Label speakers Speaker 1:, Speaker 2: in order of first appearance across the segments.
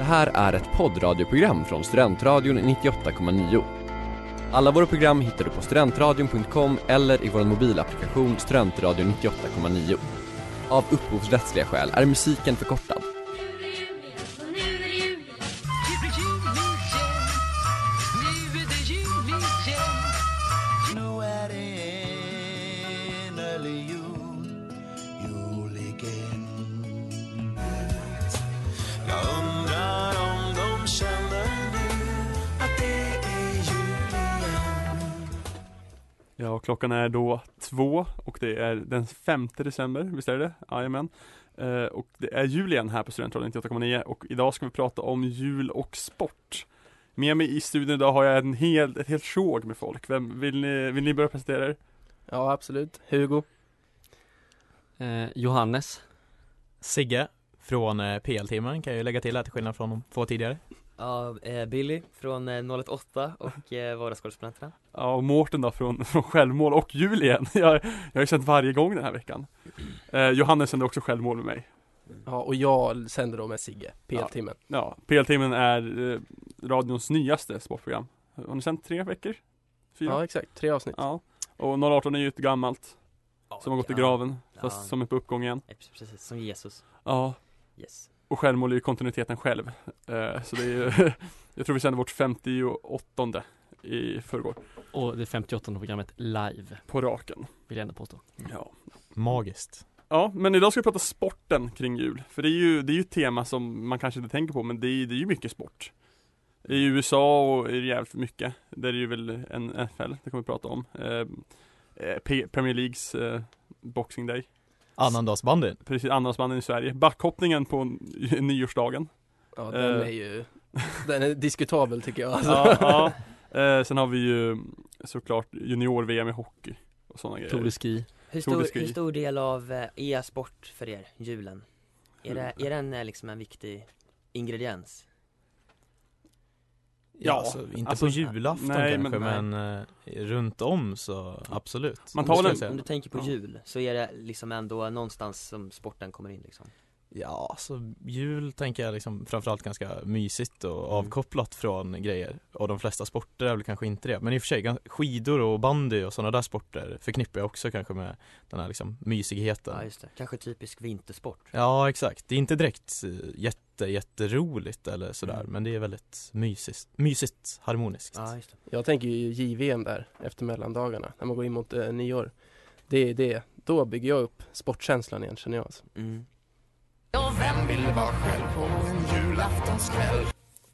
Speaker 1: här är ett poddradioprogram från Studentradion 98,9. Alla våra program hittar du på studentradion.com eller i vår mobilapplikation Studentradion 98,9. Av upphovsrättsliga skäl är musiken förkortad.
Speaker 2: Nu är det en early jul, jul igen Jag undrar om de känner nu att det är jul igen
Speaker 3: Ja, klockan är då två och det är den 5 december, visst är det det? Jajamän. Eh, och det är jul igen här på Studentradion 98,9 och idag ska vi prata om jul och sport. Med mig i studion idag har jag en hel, ett helt tjog med folk. Vem, vill, ni, vill ni börja presentera er?
Speaker 4: Ja, absolut. Hugo.
Speaker 5: Eh, Johannes.
Speaker 6: Sigge från eh, PL-timmen kan jag ju lägga till här till skillnad från de två tidigare.
Speaker 7: Ja, eh, Billy från eh, 018 och eh, Vardagskorrespondenterna.
Speaker 3: Ja, och Mårten då från, från Självmål och jul igen. Jag, jag har ju sänt varje gång den här veckan. Eh, Johannes sände också självmål med mig.
Speaker 4: Ja, och jag sänder då med Sigge, PL-timmen.
Speaker 3: Ja, PL-timmen är eh, radions nyaste sportprogram. Har ni sänt tre veckor? Fyra?
Speaker 4: Ja. exakt. Tre
Speaker 7: Typ.
Speaker 4: avsnitt.
Speaker 3: Ja, och 018 är ju ett gammalt som har gått i
Speaker 7: Ja,
Speaker 3: graven,
Speaker 7: Ja.
Speaker 3: fast som är på uppgång igen.
Speaker 7: eh, Precis, som Jesus.
Speaker 3: Ja,
Speaker 7: Yes.
Speaker 3: och självmål är ju kontinuiteten själv. Eh, så det är ju, jag tror vi sände vårt 58 i förrgår,
Speaker 5: Och det 58 programmet live,
Speaker 3: på raken.
Speaker 5: vill jag ändå påstå.
Speaker 3: Ja.
Speaker 6: Magiskt.
Speaker 3: ja, men idag ska vi prata sporten kring jul, för det är ju, det är ju ett tema som man kanske inte tänker på, men det är, det är ju mycket sport. I USA och är det jävligt mycket, där är det ju väl en NFL, det kommer vi prata om. Eh, eh, P- Premier Leages eh, Boxing Day.
Speaker 6: Annandagsbandyn.
Speaker 3: precis andrahandsmannen i Sverige. Backhoppningen på n- nyårsdagen.
Speaker 4: Ja, den
Speaker 3: Eh.
Speaker 4: är ju... Den är diskutabel tycker jag. Alltså.
Speaker 3: Ja, ja. Eh, sen har vi ju såklart junior-VM i hockey och sådana
Speaker 5: Tour de
Speaker 3: grejer.
Speaker 5: ski.
Speaker 7: Hur
Speaker 3: Tour de
Speaker 7: stor,
Speaker 3: ski.
Speaker 7: hur stor del av eh, är sport för er, julen? Är, det,
Speaker 3: Mm.
Speaker 7: är den eh, liksom en viktig ingrediens?
Speaker 3: Ja,
Speaker 6: alltså, inte
Speaker 3: alltså,
Speaker 6: på julafton
Speaker 3: nej, men-
Speaker 6: kanske men, eh, runt om så absolut.
Speaker 3: Man
Speaker 7: Om
Speaker 3: tar
Speaker 7: du-
Speaker 3: den-
Speaker 7: Om du tänker på
Speaker 3: Ja.
Speaker 7: jul, så är det liksom ändå någonstans som sporten kommer in liksom?
Speaker 6: Ja, alltså jul tänker jag liksom framförallt ganska mysigt och
Speaker 7: Mm.
Speaker 6: avkopplat från grejer. Och de flesta sporter är väl kanske inte det. Men i och för sig, gan- skidor och bandy och sådana där sporter förknippar jag också kanske med den här liksom mysigheten.
Speaker 7: Ja just det, kanske typisk vintersport?
Speaker 6: Ja exakt, det är inte direkt eh, jätte jätteroligt eller sådär
Speaker 7: Mm.
Speaker 6: men det är väldigt mysigt, mysigt harmoniskt.
Speaker 7: Ja just det,
Speaker 4: Jag tänker ju JVM där efter mellandagarna, när man går in mot eh, nyår. Det är det. Då bygger jag upp sportkänslan igen känner jag. Alltså.
Speaker 7: mm.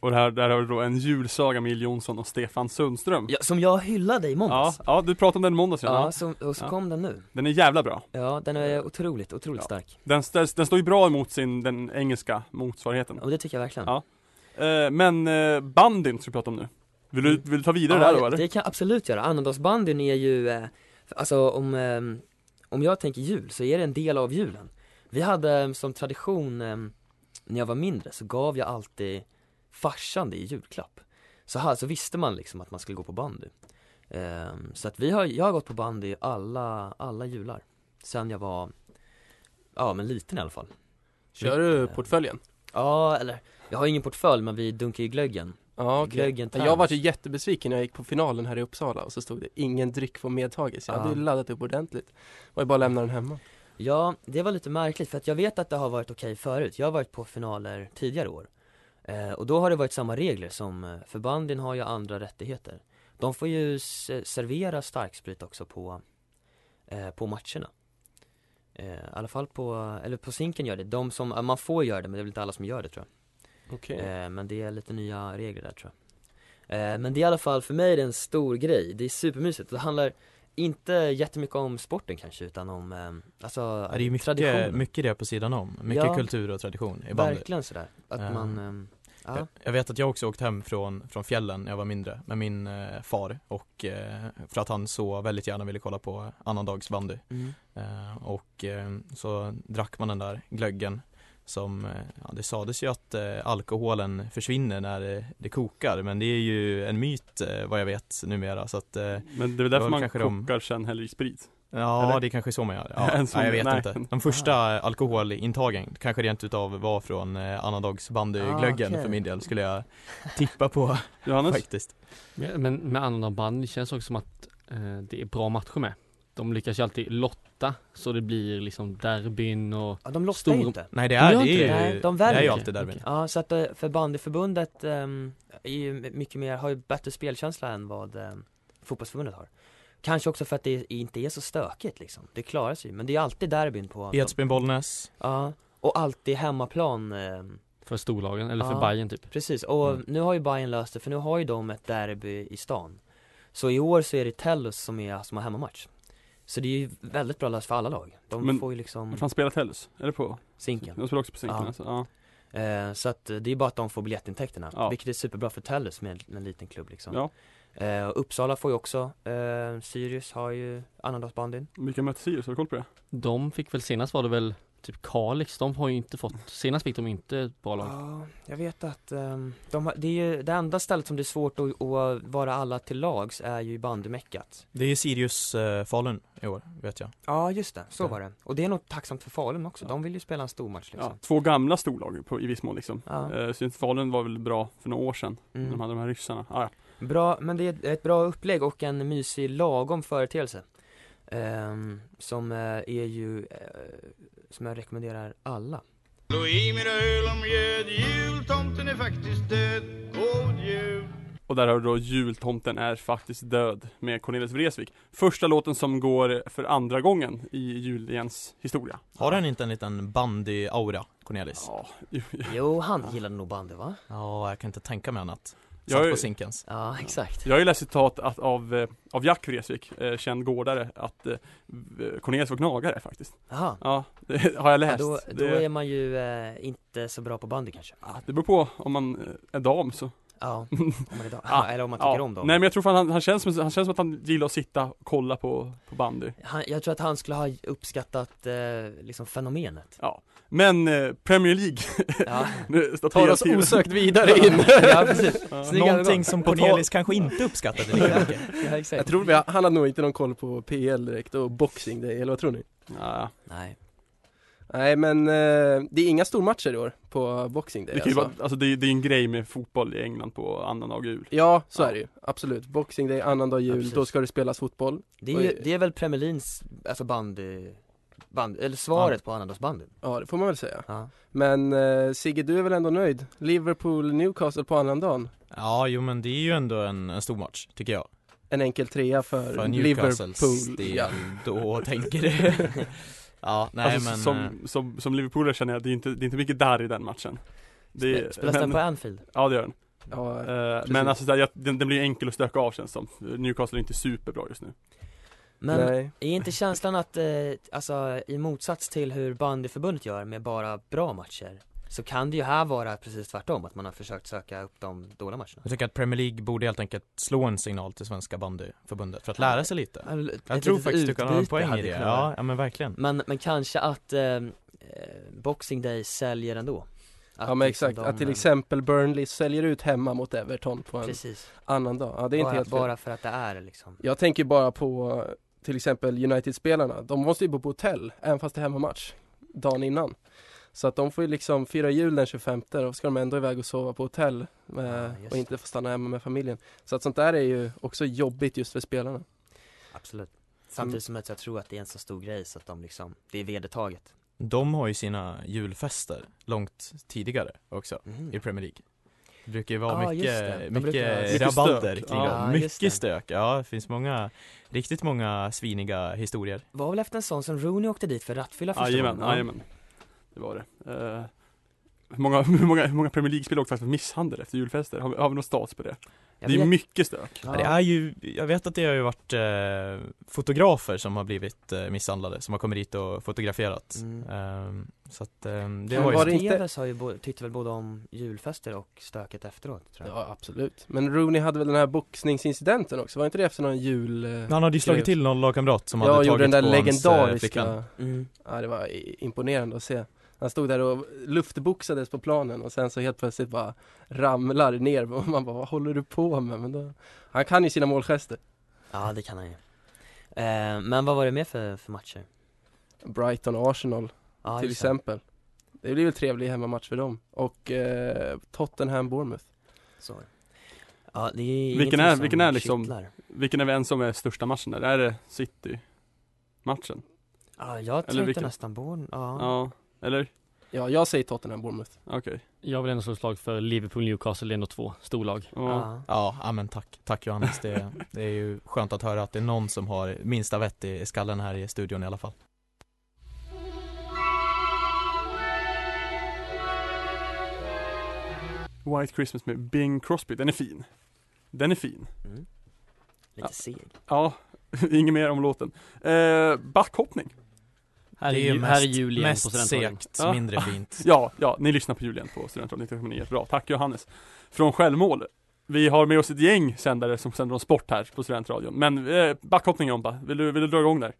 Speaker 3: Och det här, där har vi då en julsaga med Jill Johnson och Stefan Sundström.
Speaker 7: ja, Som jag hyllade i
Speaker 3: Ja,
Speaker 7: måndags!
Speaker 3: ja, du pratade om den i måndags redan.
Speaker 7: Ja, som, och så
Speaker 3: Ja.
Speaker 7: kom den nu.
Speaker 3: Den är jävla bra.
Speaker 7: Ja, den är otroligt, otroligt
Speaker 3: Ja.
Speaker 7: stark.
Speaker 3: Den, ställs, den står ju bra emot sin, den engelska motsvarigheten.
Speaker 7: Och det tycker jag verkligen.
Speaker 3: Ja, Eh, men eh, bandyn ska vi prata om nu. Vill du, vill du ta vidare
Speaker 7: Ja,
Speaker 3: där då eller?
Speaker 7: Det kan jag absolut göra. Annandagsbandyn är ju, eh, alltså om, eh, om jag tänker jul så är det en del av julen. Vi hade eh, som tradition, eh, när jag var mindre så gav jag alltid farsan det i julklapp. Så här så visste man liksom att man skulle gå på bandy. Eh, så att vi har, jag har gått på bandy alla, alla jular. Sen jag var, ja men liten i alla fall.
Speaker 4: Kör du portföljen?
Speaker 7: Ja, eller, jag har ingen portfölj men vi dunkar ju glöggen.
Speaker 4: Ja, okej.
Speaker 7: Glöggen
Speaker 4: Ja, Jag var ju jättebesviken när jag gick på finalen här i Uppsala och så stod det ingen dryck får medtages. Jag hade ju
Speaker 7: Ja.
Speaker 4: laddat upp ordentligt. Var ju bara att lämna den hemma.
Speaker 7: Ja, det var lite märkligt för att jag vet att det har varit okej förut. Jag har varit på finaler tidigare år. Eh, och då har det varit samma regler som, eh, för bandyn har ju andra rättigheter. De får ju s- servera starksprit också på, eh, på matcherna. Eh, I alla fall på, eller på Zinken gör det. De som, ja, man får göra det men det är väl inte alla som gör det tror jag.
Speaker 4: Okej.
Speaker 7: Eh, men det är lite nya regler där tror jag. Eh, men det är i alla fall, för mig är det en stor grej. Det är supermysigt. Det handlar inte jättemycket om sporten kanske utan om, eh, alltså
Speaker 6: Ja, det är ju mycket,
Speaker 7: tradition.
Speaker 6: mycket det på sidan om, mycket
Speaker 7: Ja.
Speaker 6: kultur och tradition i bandy.
Speaker 7: Verkligen sådär. Att
Speaker 6: Eh,
Speaker 7: man, ehm, ja.
Speaker 6: Jag, Eh, jag vet att jag också åkt hem från, från fjällen när jag var mindre med min eh, far och eh, för att han så väldigt gärna ville kolla på annandagsbandy.
Speaker 7: Mm.
Speaker 6: Eh, och eh, så drack man den där glöggen som, eh, ja, det sades ju att eh, alkoholen försvinner när det, det kokar men det är ju en myt eh, vad jag vet numera så att eh,
Speaker 3: Men det är väl
Speaker 6: Det
Speaker 3: därför
Speaker 6: var
Speaker 3: man
Speaker 6: kanske de-
Speaker 3: kokar sen häller i sprit.
Speaker 6: Ja,
Speaker 3: Eller?
Speaker 6: det är kanske är så man gör. Ja,
Speaker 3: En
Speaker 6: nej,
Speaker 3: sån-
Speaker 6: jag vet
Speaker 3: nej.
Speaker 6: inte. De första alkoholintagen kanske rent utav var från eh, Anna Dogs bandyglöggen
Speaker 7: Ah, okej.
Speaker 6: för min del skulle jag tippa på
Speaker 3: Johannes?
Speaker 6: faktiskt.
Speaker 5: Men men med annan band det känns också som att eh, det är bra matcher med. De lyckas ju alltid lotta så det blir liksom derbyn och
Speaker 7: Ja, de lottar
Speaker 5: Stor-
Speaker 7: ju inte.
Speaker 6: Nej det
Speaker 5: De
Speaker 6: är,
Speaker 5: gör
Speaker 6: det
Speaker 5: inte
Speaker 6: är
Speaker 7: det.
Speaker 6: ju,
Speaker 7: Nej, de
Speaker 6: det är ju
Speaker 7: väljer.
Speaker 6: alltid derbyn.
Speaker 5: Okej.
Speaker 7: Ja, så att eh, för bandyförbundet ehm, är ju mycket mer, har ju bättre spelkänsla än vad ehm, fotbollsförbundet har. Kanske också för att det inte är så stökigt liksom. Det klarar sig ju, men det är alltid derbyn på
Speaker 6: Edsbyn, Bollnäs.
Speaker 7: Ja, och alltid hemmaplan ehm,
Speaker 5: för storlagen eller för
Speaker 7: Ja.
Speaker 5: Bayern typ.
Speaker 7: Precis, och
Speaker 6: Mm.
Speaker 7: nu har ju Bayern löst det för nu har ju de ett derby i stan Så i år så är det Tellus som, är, som har hemmamatch Så det är ju väldigt bra löst för alla lag De
Speaker 3: Men-
Speaker 7: får ju liksom
Speaker 3: Vart fan spelar Tellus? Är det på?
Speaker 7: sinken
Speaker 3: De spelar också på Zinken
Speaker 7: Ja.
Speaker 3: alltså, ja.
Speaker 7: eh, Så att eh, det är bara att de får biljettintäkterna,
Speaker 3: Ja.
Speaker 7: vilket är superbra för Tellus med en, en liten klubb liksom
Speaker 3: ja.
Speaker 7: eh, och Uppsala får ju också, eh, Sirius har ju annandagsbandyn
Speaker 3: Vilka möter Sirius? Har du koll på det?
Speaker 5: De fick väl senast var det väl typ Kalix, de har ju inte fått, senast fick de inte ett bra lag.
Speaker 7: Ja, jag vet att ehm, de, har- det är ju det enda stället som det är svårt att, att vara alla till lags är ju i bandymeckat
Speaker 6: Det är Sirius eh, Falun i år, vet jag.
Speaker 7: Ja just det, så
Speaker 6: Ja.
Speaker 7: var det. Och det är nog tacksamt för Falun också, de vill ju spela en stor match
Speaker 3: Ja.
Speaker 7: liksom.
Speaker 3: Två gamla storlag på, i viss mån liksom.
Speaker 7: Ja.
Speaker 3: Eh, så Falun var väl bra för några år sedan, när de
Speaker 7: Mm.
Speaker 3: hade de här ryssarna. Ah, ja.
Speaker 7: Bra, men det är ett- ett bra upplägg och en mysig lagom företeelse. Ehm, som eh, är ju, eh, som jag rekommenderar alla.
Speaker 8: Slå i mina öl om göd, jultomten är faktiskt död. God jul!
Speaker 3: Och där har du då Jultomten är faktiskt död med Cornelis Vreeswijk. Första låten som går för andra gången i Juliens historia.
Speaker 6: Har den inte en liten bandy-aura, Cornelis?
Speaker 3: Ja, ju-
Speaker 7: Jo, han gillade nog bandy va?
Speaker 6: Ja, jag kan inte tänka mig annat.
Speaker 3: Jag
Speaker 6: Satt
Speaker 3: är-
Speaker 6: på Zinkens.
Speaker 7: Ja, exakt.
Speaker 3: Jag har ju läst citat att, av, eh, av Jack Vreeswijk, eh, känd gårdare, att eh, v- Cornelis var gnagare faktiskt.
Speaker 7: Jaha.
Speaker 3: Ja, det har jag
Speaker 7: Ja,
Speaker 3: läst.
Speaker 7: då, då
Speaker 3: det,
Speaker 7: är man ju eh, inte så bra på bandy kanske.
Speaker 3: ja, det beror på om man eh, är dam så.
Speaker 7: Ja, om man är ja, eller om man tycker om dem.
Speaker 3: Nej men jag tror fan han, han, känns som, han känns som att han gillar att sitta och kolla på, på bandy.
Speaker 7: han, jag tror att han skulle ha uppskattat eh, liksom fenomenet.
Speaker 3: Men eh, Premier League,
Speaker 7: Ja,
Speaker 3: nu
Speaker 4: Tar
Speaker 3: tar
Speaker 4: oss osökt vidare in.
Speaker 7: ja precis. Snygg övergång.
Speaker 6: Någonting som Cornelis kanske inte uppskattade lika mycket.
Speaker 7: Ja, exakt.
Speaker 4: Jag tror vi har- han hade nog inte någon koll på PL direkt och boxing day, eller vad tror ni?
Speaker 3: Ja,
Speaker 7: Nej.
Speaker 4: Nej men eh, det är inga stormatcher i år på boxing day
Speaker 3: det, kan ju
Speaker 4: alltså.
Speaker 3: vara, alltså, det, är- det är en grej med fotboll i England på annandag jul.
Speaker 4: Ja, så
Speaker 3: Ja.
Speaker 4: är det ju. Absolut. Boxing day, annandag
Speaker 7: Ja,
Speaker 4: jul,
Speaker 7: precis.
Speaker 4: då ska det spelas fotboll.
Speaker 7: Det är,
Speaker 4: Oj.
Speaker 7: ju, det är väl Premier Leagues, alltså bandy, band, eller svaret på annandagsbandyn?
Speaker 4: Ja, det får man väl säga.
Speaker 7: Ja.
Speaker 4: Men eh, Sigge, du är väl ändå nöjd? Liverpool, Newcastle på annandagen.
Speaker 6: Ja, jo men det är ju ändå en, en stor match, tycker jag.
Speaker 4: En enkel trea för,
Speaker 6: För Newcastles
Speaker 4: Liverpool.
Speaker 6: del
Speaker 4: Ja.
Speaker 6: då, tänker du. ja, nej
Speaker 3: alltså,
Speaker 6: men. eh,
Speaker 3: som, som, som Liverpoolare känner jag, det är inte, det är inte mycket där i den matchen. Det är-
Speaker 7: Spe- Spelas den
Speaker 3: men-
Speaker 7: på Anfield?
Speaker 3: Ja det gör den.
Speaker 4: Ja,
Speaker 3: Eh,
Speaker 4: precis.
Speaker 3: men alltså såhär, jag, den, den blir ju enkel att stöka av känns som. Newcastle är inte superbra just nu.
Speaker 7: Men
Speaker 4: nej.
Speaker 7: är inte känslan att, eh, alltså i motsats till hur bandyförbundet gör med bara bra matcher, så kan det ju här vara precis tvärtom, att man har försökt söka upp de dåliga matcherna?
Speaker 6: Jag tycker att Premier League borde helt enkelt slå en signal till Svenska bandyförbundet för att lära sig lite.
Speaker 7: Eller ett
Speaker 6: Jag tror
Speaker 7: litet
Speaker 6: faktiskt du kan ha en
Speaker 7: utbyte
Speaker 6: poäng
Speaker 7: hade
Speaker 6: i det.
Speaker 7: kunnat vara.
Speaker 6: Ja, ja men verkligen.
Speaker 7: Men, men kanske att eh, eh, Boxing Day säljer ändå? Att
Speaker 4: Ja men
Speaker 7: liksom
Speaker 4: exakt,
Speaker 7: de,
Speaker 4: att till
Speaker 7: eh,
Speaker 4: exempel Burnley säljer ut hemma mot Everton på en
Speaker 7: Precis,
Speaker 4: annan dag. Ja det är
Speaker 7: bara,
Speaker 4: inte helt fel.
Speaker 7: bara för att det är liksom
Speaker 4: Jag tänker bara på eh, till exempel United-spelarna. De måste ju bo på hotell, även fast det är hemmamatch, dagen innan. Så att de får ju liksom fira jul den 25 och ska de ändå iväg och sova på hotell eh,
Speaker 7: Ja, Ah, just
Speaker 4: och inte få stanna hemma med familjen. Så att sånt där är ju också jobbigt just för spelarna.
Speaker 7: Absolut.
Speaker 4: Mm.
Speaker 7: Samtidigt som att jag tror att det är en så stor grej så att de liksom, det är vedertaget.
Speaker 6: De har ju sina julfester långt tidigare också
Speaker 4: Mm.
Speaker 6: i Premier League. Det brukar ju vara
Speaker 7: Ja, just det.
Speaker 6: mycket,
Speaker 7: De brukar-
Speaker 6: mycket
Speaker 3: Mycket
Speaker 6: rabalder
Speaker 3: stök.
Speaker 6: kring
Speaker 3: Ja,
Speaker 6: dem.
Speaker 7: just det.
Speaker 6: Mycket stök. Ja, det finns många, riktigt många sviniga historier.
Speaker 7: Var väl efter en sån som Rooney åkte dit för rattfylla första
Speaker 3: Jajamän, jajamän. Det var det. Eh, hur, många, hur, många, hur många Premier League-spelare åkte faktiskt för misshandel efter julfester? Har vi, har vi någon stats på det?
Speaker 7: Jag
Speaker 3: det är
Speaker 7: vet-
Speaker 3: mycket stök.
Speaker 6: Ja. Det är ju, jag vet att det har ju varit eh, fotografer som har blivit eh, misshandlade, som har kommit dit och fotograferat.
Speaker 7: Mm.
Speaker 6: Ehm, så att ehm, det
Speaker 4: Men
Speaker 6: var ju
Speaker 4: var
Speaker 6: var
Speaker 4: det inte-
Speaker 7: Tevez har ju bo- tyckte väl både om julfester och stöket efteråt tror jag.
Speaker 4: Ja absolut. Men Rooney hade väl den här boxningsincidenten också, var inte det efter någon jul... eh,
Speaker 6: Han hade ju slagit till någon lagkamrat som
Speaker 4: Ja,
Speaker 6: hade
Speaker 4: gjorde
Speaker 6: tagit
Speaker 4: den där
Speaker 6: på hans eh,
Speaker 4: legendariska...
Speaker 6: flickvän.
Speaker 7: Mm.
Speaker 4: Ja, det var i- imponerande att se. Han stod där och luftboxades på planen och sen så helt plötsligt bara ramlar ner och man bara vad håller du på med? Men då, han kan ju sina målgester.
Speaker 7: Ja det kan han ju. Eh, men vad var det mer för, för matcher?
Speaker 4: Brighton och Arsenal
Speaker 7: Ja,
Speaker 4: till
Speaker 7: just det.
Speaker 4: exempel. Det blir väl trevlig hemmamatch för dem. Och eh, Tottenham Bournemouth.
Speaker 7: Så. Ja, det är
Speaker 3: Vilken
Speaker 7: ingenting
Speaker 3: är-
Speaker 7: som
Speaker 3: vilken är liksom-
Speaker 7: kittlar.
Speaker 3: Vilken är vi ens som är största matchen där? Är det City-matchen?
Speaker 7: Ja, jag
Speaker 3: Eller
Speaker 7: tänkte
Speaker 3: vilken-
Speaker 7: nästan Born, ja.
Speaker 3: Ja, eller?
Speaker 4: Ja, jag säger Tottenham Bournemouth.
Speaker 3: Okej.
Speaker 5: Jag vill ändå slå ett slag för Liverpool Newcastle, det är ändå två storlag.
Speaker 3: Ja.
Speaker 7: Ja.
Speaker 6: Ja, ja men tack, tack Johannes. Det, det är ju skönt att höra att det är någon som har minsta vett i i skallen här i studion i alla fall.
Speaker 3: White Christmas med Bing Crosby, den är fin. Den är fin.
Speaker 7: Mm.
Speaker 3: Ja.
Speaker 7: Lite seg.
Speaker 3: Ja, inget mer om låten. Eh, backhoppning.
Speaker 5: Här är,
Speaker 6: det
Speaker 5: ju, här är jul igen på
Speaker 6: mest
Speaker 5: studentradion.
Speaker 6: segt,
Speaker 3: Ja.
Speaker 6: mindre fint.
Speaker 3: Ja, ja, ni lyssnar på Julian på Studentradion 1909. Bra, tack Johannes. Från Självmål. Vi har med oss ett gäng sändare som sänder om sport här på Studentradion. Men eh, backhoppning Jompa, vill du, vill du dra igång där?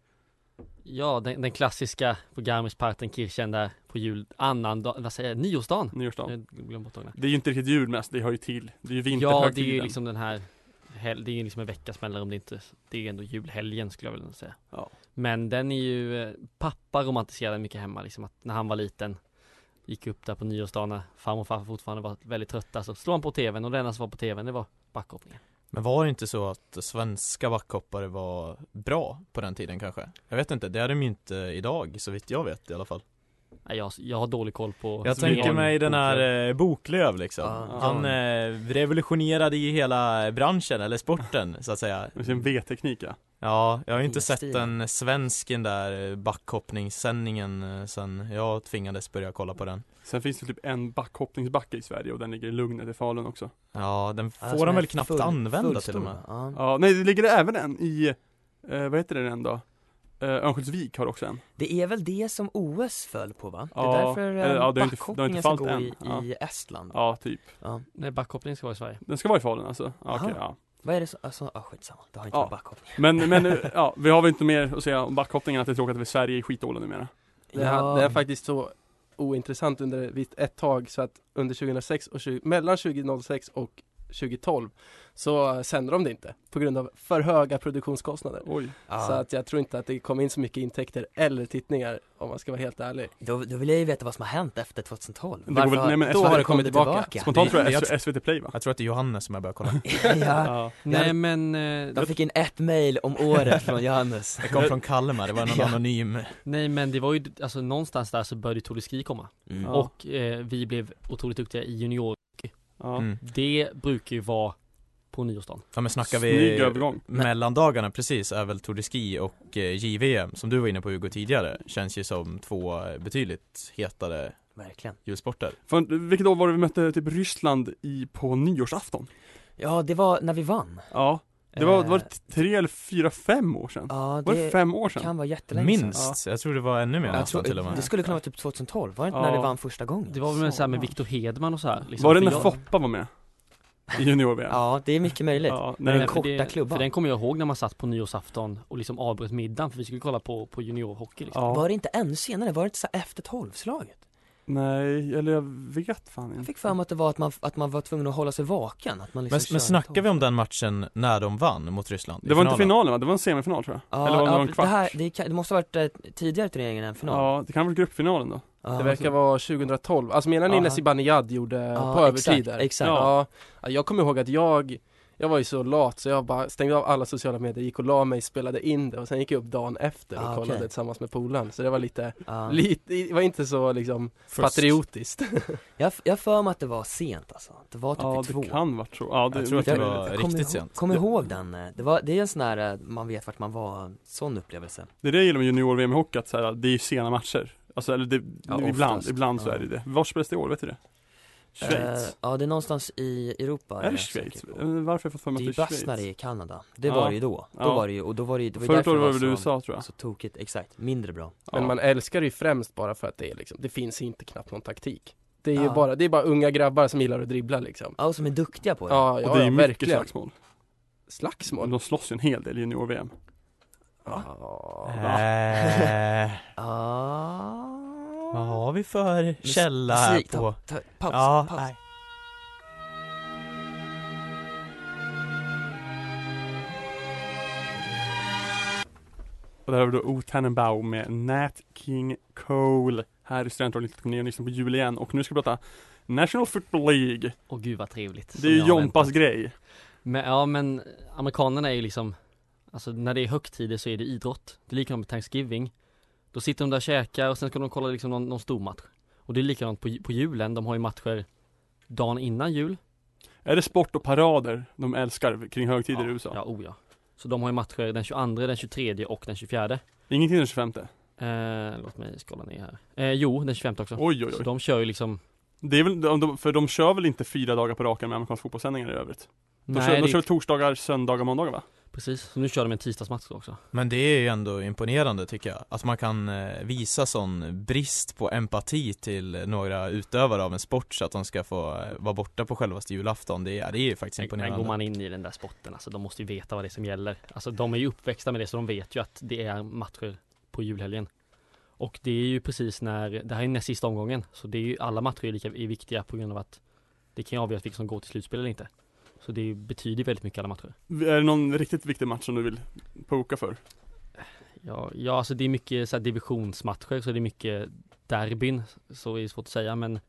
Speaker 5: Ja, den, den klassiska på Garmisch-Partenkirchen där på jul, annan dag, vad säger jag, nyårsdagen?
Speaker 3: Nyårsdagen.
Speaker 5: Jag glömde bort dagarna.
Speaker 3: Det är ju inte riktigt jul mest, det hör ju till. Det är ju
Speaker 5: Ja, det är
Speaker 3: vinterhögtiden.
Speaker 5: ju liksom den här, hel- det är ju liksom en veckas mellanrum, det är inte, det är ändå julhelgen skulle jag vilja säga.
Speaker 3: Ja.
Speaker 5: Men den är ju, eh, pappa romantiserade den mycket hemma liksom, att när han var liten Gick upp där på nyårsdagen när farmor och farfar fortfarande var väldigt trötta så slog han på tvn och det enda som var på tvn det var backhoppningen.
Speaker 6: Men var det inte så att svenska backhoppare var bra på den tiden kanske? Jag vet inte, det är de ju inte idag så vitt jag vet i alla fall.
Speaker 5: Nej, jag, jag har dålig koll på
Speaker 6: Jag
Speaker 5: på
Speaker 6: tänker
Speaker 5: min-
Speaker 6: mig den
Speaker 5: på-
Speaker 6: här eh, Boklöv liksom.
Speaker 7: Ja.
Speaker 6: Han eh, revolutionerade ju hela branschen, eller sporten så att säga.
Speaker 3: Med sin V-teknik ja.
Speaker 6: Ja, jag har ju inte sett
Speaker 7: Stilen.
Speaker 6: den svensken där eh, backhoppningssändningen eh, sen jag tvingades börja kolla på den.
Speaker 3: Sen finns det typ en backhoppningsbacke i Sverige och den ligger i Lugnet i Falun också.
Speaker 6: Ja, den
Speaker 7: Ja,
Speaker 6: får
Speaker 7: som
Speaker 6: de
Speaker 7: är
Speaker 6: väl knappt
Speaker 7: full-
Speaker 6: använda
Speaker 7: fullstor,
Speaker 6: till och med.
Speaker 7: va? Ja.
Speaker 5: Mm.
Speaker 3: Ja, nej det ligger det även en i, eh, vad heter den än då? Eh, Örnsköldsvik har också
Speaker 5: Mm.
Speaker 3: en.
Speaker 7: Det är väl det som OS föll på va? Det
Speaker 3: Ja,
Speaker 7: är därför
Speaker 3: eller, ja,
Speaker 7: eh,
Speaker 3: det har inte- det har
Speaker 7: backhoppningen
Speaker 3: inte
Speaker 7: ska
Speaker 3: fallit
Speaker 7: gå
Speaker 3: än.
Speaker 7: i,
Speaker 3: Ja.
Speaker 7: i Estland
Speaker 3: Ja, typ.
Speaker 7: Ja.
Speaker 5: Nej, backhoppningen ska vara i Sverige.
Speaker 3: Den ska vara i Falun alltså? Ja, Okej,
Speaker 7: Aha.
Speaker 3: ja.
Speaker 7: Vad är det som, alltså, ah, skitsamma, det har inte
Speaker 3: Ja.
Speaker 7: med backhoppning
Speaker 3: Men, men eh, ja, vi har väl inte mer att säga om backhoppningen, att det är tråkigt att Sverige är skitdåliga numera.
Speaker 4: Det,
Speaker 7: Ja.
Speaker 4: här, det är faktiskt så ointressant under vitt- ett tag så att under 2006 och 20, mellan 2006 och 2012 så eh, sände de det inte på grund av för höga produktionskostnader.
Speaker 3: Oj.
Speaker 7: Ja.
Speaker 4: Så att jag tror inte att det kom in så mycket intäkter eller tittningar om man ska vara helt ärlig.
Speaker 7: Då, då vill jag ju veta vad som har hänt efter 2012
Speaker 3: Det går väl- nej, men
Speaker 7: då
Speaker 3: SVT
Speaker 7: har det kommit tillbaka,
Speaker 3: Spontant
Speaker 6: det-
Speaker 3: tror jag,
Speaker 6: jag
Speaker 3: S- SVT Play va?
Speaker 6: Jag tror att det är Johannes som jag börjar kolla.
Speaker 7: ja.
Speaker 6: Ah.
Speaker 3: Ja.
Speaker 5: Nej men, eh,
Speaker 7: De fick in ett mail om året från Johannes
Speaker 6: Det kom från Kalmar, det var någon
Speaker 7: Ja.
Speaker 6: anonym.
Speaker 5: nej men det var ju, alltså någonstans där så började Tour de Ski komma.
Speaker 3: Ja.
Speaker 5: Och eh, vi blev otroligt duktiga i junior.
Speaker 3: Ja.
Speaker 6: Mm.
Speaker 5: Det brukar ju vara på nyårsdagen.
Speaker 6: Ja men snackar
Speaker 3: Snygg
Speaker 6: vi
Speaker 3: övergång.
Speaker 6: mellandagarna precis är väl Tour de Ski och eh, JVM som du var inne på Hugo tidigare känns ju som två eh, betydligt hetare
Speaker 7: Verkligen
Speaker 6: julsporter.
Speaker 3: Fan, vilket år var det vi mötte typ Ryssland i, på nyårsafton?
Speaker 7: Ja, det var när vi vann
Speaker 3: Ja. Det var, det var
Speaker 7: Eh,
Speaker 3: tre eller fyra, fem år sedan.
Speaker 7: Ja,
Speaker 3: Var det
Speaker 7: det
Speaker 3: fem år sedan?
Speaker 7: kan vara jättelänge sedan.
Speaker 6: Minst, jag tror det var ännu mer
Speaker 3: Jag
Speaker 6: nästan till och
Speaker 7: Det
Speaker 6: med.
Speaker 7: skulle kunna vara typ 2012, var det inte
Speaker 3: Ja.
Speaker 7: när vi vann första gången?
Speaker 5: Det var väl med, så här, med
Speaker 3: Sommar.
Speaker 5: Viktor Hedman och så här. liksom.
Speaker 3: Var det
Speaker 5: För
Speaker 3: när
Speaker 5: jag-
Speaker 3: Foppa var med? I junior-VM?
Speaker 7: Ja, det är mycket möjligt
Speaker 3: Ja,
Speaker 7: Med
Speaker 3: när
Speaker 7: den
Speaker 5: för
Speaker 7: korta
Speaker 5: det-
Speaker 7: klubban
Speaker 5: För den kommer jag ihåg när man satt på nyårsafton och liksom avbröt middagen för vi skulle kolla på, på juniorhockey liksom.
Speaker 3: ja.
Speaker 7: Var det inte ännu senare? Var det inte så här efter tolvslaget?
Speaker 3: Nej, eller jag vet fan inte.
Speaker 7: Jag fick för mig att det var att man, att man var tvungen att hålla sig vaken att man liksom
Speaker 6: Men, men
Speaker 7: körde
Speaker 6: snackar vi
Speaker 7: tolv.
Speaker 6: om den matchen när de vann mot Ryssland? i
Speaker 3: Det var inte
Speaker 6: finalen?
Speaker 3: finalen va? Det var en semifinal tror jag.
Speaker 7: Ja,
Speaker 3: eller var det
Speaker 7: ja,
Speaker 3: någon kvart?
Speaker 7: Det, här, det, kan, det måste ha varit eh, tidigare turneringen än final
Speaker 3: Ja, det kan ha varit gruppfinalen då.
Speaker 7: Ja.
Speaker 4: Det verkar vara 2012, alltså menar ni
Speaker 7: Ja.
Speaker 4: när Zibanejad gjorde
Speaker 7: Ja,
Speaker 4: på övertid
Speaker 7: exakt,
Speaker 4: där?
Speaker 7: exakt.
Speaker 4: Ja. Ja, jag kommer ihåg att jag, jag var ju så lat så jag bara stängde av alla sociala medier, gick och la mig, spelade in det och sen gick jag upp dagen efter och
Speaker 7: Ah,
Speaker 4: kollade
Speaker 7: okej. Ah.
Speaker 4: tillsammans med polaren så det var lite
Speaker 7: Ja.
Speaker 4: Lite, det var inte så liksom patriotiskt.
Speaker 7: Jag, jag för mig att det var sent alltså, det var typ
Speaker 3: Ja,
Speaker 7: vid två
Speaker 3: det kan varit så. Ja, det,
Speaker 6: Jag tror att det
Speaker 3: mycket
Speaker 6: var-
Speaker 3: möjligt.
Speaker 7: kommer
Speaker 6: riktigt
Speaker 7: ihåg,
Speaker 6: sent.
Speaker 7: Kom
Speaker 6: Ja.
Speaker 7: ihåg den, eh, det, var, det är en sån här, eh, man vet vart man var, sån upplevelse
Speaker 3: det är det jag gillar med junior-VM i hockey, att så här, det är ju sena matcher. Alltså, eller det,
Speaker 7: Ja,
Speaker 3: ibland,
Speaker 7: oftast.
Speaker 3: ibland så
Speaker 7: Ja.
Speaker 3: är det ju det. Var spelades det i år, vet du det? Schweiz?
Speaker 7: Eh, Ja, det är någonstans i Europa
Speaker 3: är det
Speaker 7: jag
Speaker 3: Schweiz?
Speaker 7: säker
Speaker 3: Eh,
Speaker 7: på.
Speaker 3: Varför har jag fått för
Speaker 7: Det är
Speaker 3: mig
Speaker 7: ju
Speaker 3: att det är Schweiz?
Speaker 7: Bastnary i Kanada, det
Speaker 3: Ja.
Speaker 7: var det ju då, då
Speaker 3: Ja.
Speaker 7: var det ju, och då var det ju, det var ju
Speaker 3: Förut
Speaker 7: därför
Speaker 3: var
Speaker 7: det
Speaker 3: det
Speaker 7: var
Speaker 3: väl
Speaker 7: så,
Speaker 3: USA tror jag.
Speaker 7: så tokigt, exakt, mindre bra
Speaker 3: Ja.
Speaker 4: Men man älskar det ju främst bara för att det är liksom, det finns inte knappt någon taktik. Det är ju
Speaker 7: Ja.
Speaker 4: bara, det är bara unga grabbar som gillar att dribbla liksom.
Speaker 7: Ja, och som är duktiga på det
Speaker 4: Ja, ja,
Speaker 3: Och det är ju
Speaker 4: ja
Speaker 3: mycket
Speaker 4: verkligen.
Speaker 3: slagsmål.
Speaker 4: Slagsmål?
Speaker 3: De slåss ju en hel del i junior-VM.
Speaker 4: Ja.
Speaker 6: Eh,
Speaker 7: Ah.
Speaker 6: vad har vi för källa här
Speaker 7: Musik,
Speaker 6: på?
Speaker 7: ta, ta, paus,
Speaker 6: Ja,
Speaker 7: paus.
Speaker 6: nej.
Speaker 3: Och där har vi då O Tannenbaum med Nat King Cole här i Studentradion 1979 och lyssnar på jul igen. Och nu ska vi prata National Football League.
Speaker 5: Åh gud vad trevligt
Speaker 3: Det
Speaker 5: som
Speaker 3: är
Speaker 5: jag
Speaker 3: ju
Speaker 5: har
Speaker 3: Jompas
Speaker 5: väntat.
Speaker 3: grej.
Speaker 5: men, Ja men amerikanerna är ju liksom Alltså när det är högtider så är det idrott Det är likadant med Thanksgiving Då sitter de där och käkar och sen ska de kolla liksom någon, någon stor match Och det är likadant på, ju- på julen, de har ju matcher Dagen innan jul
Speaker 3: Är det sport och parader de älskar kring högtider
Speaker 5: ja,
Speaker 3: i USA?
Speaker 5: Ja, oh ja Så de har ju matcher den 22, den 23 och den 24
Speaker 3: Ingenting den 25?
Speaker 5: eh, Låt mig skala ner här eh, Jo, den 25 också
Speaker 3: Oj oj
Speaker 5: Så
Speaker 3: oj.
Speaker 5: de kör ju liksom
Speaker 3: Det är väl, de- de- för de kör väl inte fyra dagar på raken med amerikanska fotbollssändningar i övrigt? De
Speaker 5: Nej,
Speaker 3: kör,
Speaker 5: det
Speaker 3: de
Speaker 5: är-
Speaker 3: kör torsdagar, söndagar, måndagar va?
Speaker 5: Precis, så nu kör de en tisdagsmatch då också
Speaker 6: Men det är ju ändå imponerande tycker jag, att man kan eh, visa sån brist på empati till några utövare av en sport så att de ska få eh, vara borta på självaste julafton, det är, det är ju faktiskt
Speaker 5: Men går
Speaker 6: imponerande
Speaker 5: man in i den där sporten, alltså de måste ju veta vad det är som gäller. Alltså de är ju uppväxta med det, så de vet ju att det är matcher på julhelgen. Och det är ju precis när, det här är näst sista omgången, så det är ju alla matcher är lika är viktiga på grund av att det kan ju avgöras vilka som går till slutspel eller inte. Så det betyder väldigt mycket alla matcher.
Speaker 3: Är det någon riktigt viktig match som du vill poka för?
Speaker 5: Ja, ja alltså det är mycket så här divisionsmatcher, så det är mycket derbyn, så är det svårt att säga, men